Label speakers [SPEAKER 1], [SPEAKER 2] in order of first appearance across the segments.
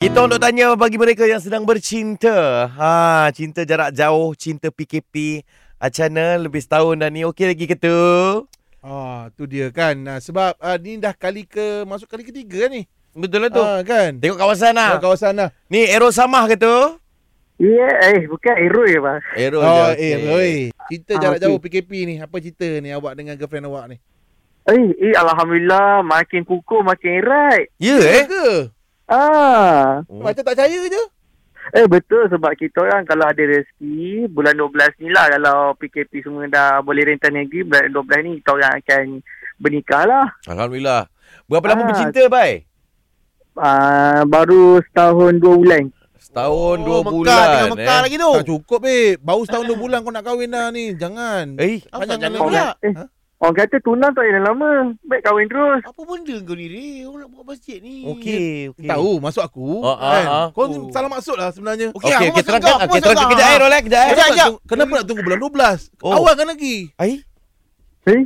[SPEAKER 1] Kita untuk tanya bagi mereka yang sedang bercinta. Ha, cinta jarak jauh, cinta PKP. Macam mana Ah, lebih setahun dah ni okey lagi ke tu?
[SPEAKER 2] Ah, tu dia kan. Ah, sebab ah, ni dah kali ke masuk kali ketiga kan ni.
[SPEAKER 1] Betul lah
[SPEAKER 2] Ah, kan.
[SPEAKER 1] Tengok kawasan
[SPEAKER 2] Ah,
[SPEAKER 1] lah.
[SPEAKER 2] kawasan lah.
[SPEAKER 1] Ni Ero Samah ke tu?
[SPEAKER 3] Ya, eh bukan Eroi bang.
[SPEAKER 1] Ero
[SPEAKER 2] Oh,
[SPEAKER 1] okey.
[SPEAKER 2] eh, oi. Cerita
[SPEAKER 3] Ah,
[SPEAKER 2] jarak
[SPEAKER 3] okey.
[SPEAKER 2] jauh PKP ni. Apa cerita ni awak dengan girlfriend awak ni?
[SPEAKER 3] Eh, eh alhamdulillah makin kukuh makin erat.
[SPEAKER 1] Ya eh?
[SPEAKER 2] Ke?
[SPEAKER 3] Ah.
[SPEAKER 1] Oh.
[SPEAKER 2] Macam tak percaya je.
[SPEAKER 3] Eh betul sebab kita orang kalau ada rezeki bulan 12 ni lah kalau PKP semua dah boleh rentan negeri bulan 12 ni kita orang akan bernikah lah.
[SPEAKER 1] Alhamdulillah. Berapa lama
[SPEAKER 3] Ah.
[SPEAKER 1] bercinta, Bai?
[SPEAKER 3] Ah, baru setahun dua bulan.
[SPEAKER 1] Setahun, dua
[SPEAKER 2] Mekah,
[SPEAKER 1] bulan.
[SPEAKER 2] Tengah Mekah
[SPEAKER 1] eh.
[SPEAKER 2] lagi tu. Tak cukup, babe. Baru setahun dua bulan kau nak kahwin dah ni. Jangan.
[SPEAKER 1] Eh,
[SPEAKER 2] Apa
[SPEAKER 4] Apa jangan
[SPEAKER 2] jangan
[SPEAKER 3] Orang,
[SPEAKER 2] pula?
[SPEAKER 3] kata, eh, orang kata tunang tak payah lama. Baik kahwin terus.
[SPEAKER 4] Apa benda kau ni Ray? Orang nak buat masjid ni.
[SPEAKER 1] okey. okey.
[SPEAKER 2] Tahu masuk aku
[SPEAKER 1] Ah, ah,
[SPEAKER 2] kan.
[SPEAKER 1] ah.
[SPEAKER 2] Kau
[SPEAKER 4] Oh.
[SPEAKER 2] salah maksud lah sebenarnya.
[SPEAKER 1] Okey,
[SPEAKER 4] Okey, aku
[SPEAKER 1] kita
[SPEAKER 4] masuk kau.
[SPEAKER 1] terangkan.
[SPEAKER 4] Aku
[SPEAKER 1] Okey,
[SPEAKER 4] masuk
[SPEAKER 1] terangkan
[SPEAKER 4] kau.
[SPEAKER 1] kejap,
[SPEAKER 4] Ha.
[SPEAKER 1] Ero lah. Kejap, eh.
[SPEAKER 2] Kenapa
[SPEAKER 4] Sekejap,
[SPEAKER 2] nak
[SPEAKER 4] sekejap.
[SPEAKER 2] tunggu- Kenapa nak tunggu bulan 12?
[SPEAKER 1] Oh.
[SPEAKER 2] Awal kan lagi.
[SPEAKER 1] Ai,
[SPEAKER 3] Eh?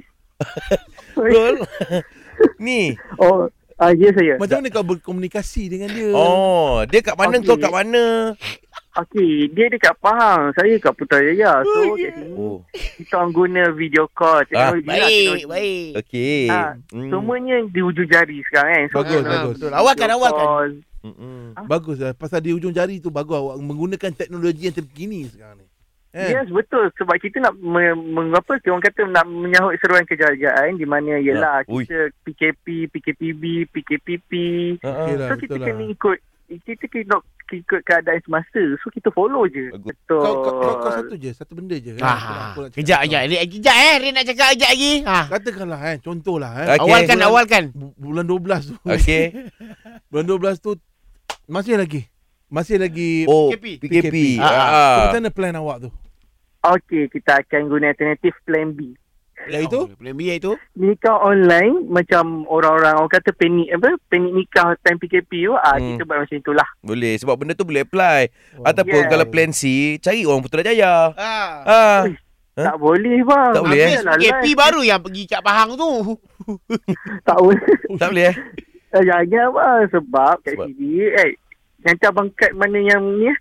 [SPEAKER 1] betul. Ni.
[SPEAKER 3] Oh, ah, ya saya.
[SPEAKER 2] Macam mana kau berkomunikasi dengan dia?
[SPEAKER 1] Oh, dia kat mana,
[SPEAKER 3] Okey.
[SPEAKER 1] kau kat mana?
[SPEAKER 3] Okey, dia dekat Pahang. Saya kat Putrajaya. So,
[SPEAKER 4] Oh,
[SPEAKER 3] kat
[SPEAKER 4] ya.
[SPEAKER 3] sini
[SPEAKER 1] Oh,
[SPEAKER 3] kita orang guna video call.
[SPEAKER 2] Ah.
[SPEAKER 3] Teknologi lah,
[SPEAKER 4] Baik,
[SPEAKER 3] teknologi.
[SPEAKER 4] baik.
[SPEAKER 1] okey.
[SPEAKER 3] Ah,
[SPEAKER 1] Hmm.
[SPEAKER 3] Semuanya di ujung jari sekarang kan. So,
[SPEAKER 2] Bagus,
[SPEAKER 3] kita
[SPEAKER 2] bagus.
[SPEAKER 3] orang
[SPEAKER 4] Betul. Awalkan,
[SPEAKER 3] video
[SPEAKER 4] awalkan.
[SPEAKER 3] call.
[SPEAKER 1] Mm-mm.
[SPEAKER 2] Bagus lah. Pasal di ujung jari tu bagus awak menggunakan teknologi yang terkini sekarang ni. Eh?
[SPEAKER 3] Yes, betul. Sebab kita nak me- mengapa orang kata nak menyahut seruan kejayaan di mana ialah
[SPEAKER 1] Ya, ui.
[SPEAKER 3] kita PKP, PKPB, PKPP.
[SPEAKER 1] Ah,
[SPEAKER 2] Okey
[SPEAKER 1] ah.
[SPEAKER 2] lah,
[SPEAKER 3] So kita
[SPEAKER 2] betul
[SPEAKER 3] kena
[SPEAKER 2] lah.
[SPEAKER 3] ikut kita kena ikut keadaan semasa. So kita follow je.
[SPEAKER 1] Bagus.
[SPEAKER 3] Betul.
[SPEAKER 2] Kau, kau, kau, kau satu je, satu benda je. kan? Aku nak-
[SPEAKER 4] Ah,
[SPEAKER 2] aku nak cakap
[SPEAKER 4] kejap,
[SPEAKER 2] kau.
[SPEAKER 4] kejap. Ray, Kejap eh. Ray nak cakap kejap lagi. Ha.
[SPEAKER 2] Katakanlah eh, contohlah eh.
[SPEAKER 1] Okey.
[SPEAKER 4] Awalkan, awalkan.
[SPEAKER 2] Bu- Bulan 12 tu.
[SPEAKER 1] Okey.
[SPEAKER 2] bulan 12 tu masih lagi. Masih lagi
[SPEAKER 1] Oh,
[SPEAKER 4] PKP.
[SPEAKER 1] PKP. Ah,
[SPEAKER 2] Ah, so,
[SPEAKER 1] ah.
[SPEAKER 2] macam mana plan awak tu?
[SPEAKER 3] Okey, kita akan guna alternatif plan B.
[SPEAKER 2] Lah itu?
[SPEAKER 4] Plan B itu.
[SPEAKER 3] Nikah online macam orang-orang orang kata panik apa? Panik nikah time PKP tu. Ah,
[SPEAKER 1] Hmm.
[SPEAKER 3] kita buat macam itulah.
[SPEAKER 1] Boleh sebab benda tu boleh apply. Ataupun
[SPEAKER 3] Yeah.
[SPEAKER 1] kalau plan C, cari orang Putrajaya.
[SPEAKER 4] Ha.
[SPEAKER 1] Ah. Huh?
[SPEAKER 3] Tak boleh bang. lah,
[SPEAKER 1] Tak boleh, eh?
[SPEAKER 4] Ah, Habis
[SPEAKER 3] Yalah,
[SPEAKER 4] PKP
[SPEAKER 3] live.
[SPEAKER 4] baru yang pergi kat Pahang tu.
[SPEAKER 3] Tak boleh.
[SPEAKER 1] Tak boleh eh?
[SPEAKER 3] Eh, Jangan abang sebab kat
[SPEAKER 1] Sebab?
[SPEAKER 3] sini eh nanti abang kat mana yang ni eh?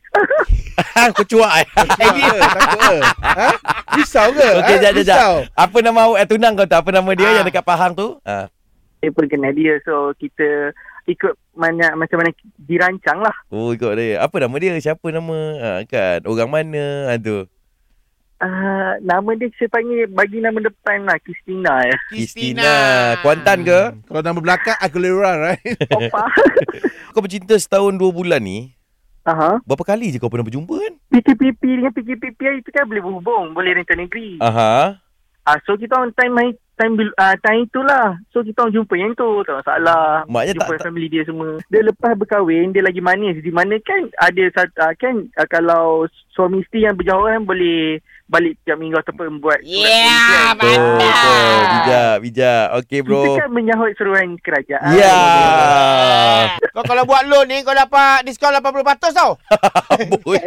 [SPEAKER 1] Kau cuak eh?
[SPEAKER 2] Takut ke? Takut ke? Ha? Risau ke?
[SPEAKER 1] Okey,
[SPEAKER 2] Ha?
[SPEAKER 1] jap, jap, jap.
[SPEAKER 2] Risau?
[SPEAKER 1] Apa nama awak eh, tunang kau tu? Apa nama dia
[SPEAKER 4] Ah.
[SPEAKER 1] yang dekat Pahang tu? Ah.
[SPEAKER 3] Saya pun kenal dia so kita ikut mana macam mana dirancang lah.
[SPEAKER 1] Oh, ikut dia. Apa nama dia? Siapa nama? Ah, kan. Orang mana? Ah, tu.
[SPEAKER 3] Uh, nama dia saya panggil bagi nama depan lah Kristina ya.
[SPEAKER 1] Christina. Kuantan ke?
[SPEAKER 2] Hmm. Kalau nama belakang Aguilera right?
[SPEAKER 3] Opa.
[SPEAKER 1] Kau bercinta setahun dua bulan ni.
[SPEAKER 3] Aha.
[SPEAKER 1] Berapa kali je kau pernah berjumpa kan?
[SPEAKER 3] PKPP dengan PKPP itu kan boleh berhubung, boleh rentan negeri. Ah
[SPEAKER 1] Aha.
[SPEAKER 3] uh, so kita orang time main time bil, uh, time itulah. So kita orang jumpa yang tu, tak masalah.
[SPEAKER 1] Maknya tak,
[SPEAKER 3] jumpa
[SPEAKER 1] tak
[SPEAKER 3] family dia semua. Dia lepas berkahwin, dia lagi manis. Di mana kan ada sat- ah, kan ah, kalau suami isteri yang berjauhan boleh balik tiap minggu ataupun buat surat
[SPEAKER 4] Yeah,
[SPEAKER 3] perjanjian.
[SPEAKER 4] Ya, Betul,
[SPEAKER 1] Betul,
[SPEAKER 4] pandai.
[SPEAKER 1] betul. Bijak, bijak. Okey,
[SPEAKER 3] Kita
[SPEAKER 1] bro.
[SPEAKER 3] kan menyahut seruan kerajaan.
[SPEAKER 1] Ya.
[SPEAKER 4] Kau kalau buat loan ni kau dapat diskaun 80% tau.
[SPEAKER 1] Amboi.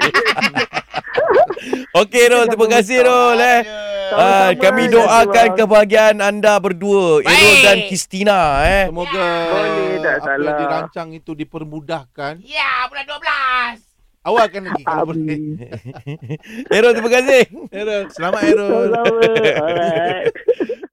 [SPEAKER 1] Okey, Rol. Terima kasih, Rol. Eh. Ah,
[SPEAKER 3] Sama-sama,
[SPEAKER 1] kami
[SPEAKER 3] Najwa.
[SPEAKER 1] doakan kebahagiaan anda berdua,
[SPEAKER 4] Baik.
[SPEAKER 1] Irul dan Kristina eh.
[SPEAKER 2] Semoga
[SPEAKER 3] Boleh,
[SPEAKER 2] apa
[SPEAKER 3] tak
[SPEAKER 2] yang
[SPEAKER 3] salah.
[SPEAKER 2] dirancang itu dipermudahkan.
[SPEAKER 4] Ya, bulan 12.
[SPEAKER 2] Awalkan lagi
[SPEAKER 3] Ah,
[SPEAKER 2] kalau boleh.
[SPEAKER 3] Abi.
[SPEAKER 1] Irul Eh, terima kasih.
[SPEAKER 2] Errol, selamat Errol.
[SPEAKER 3] Sama-sama. Alright.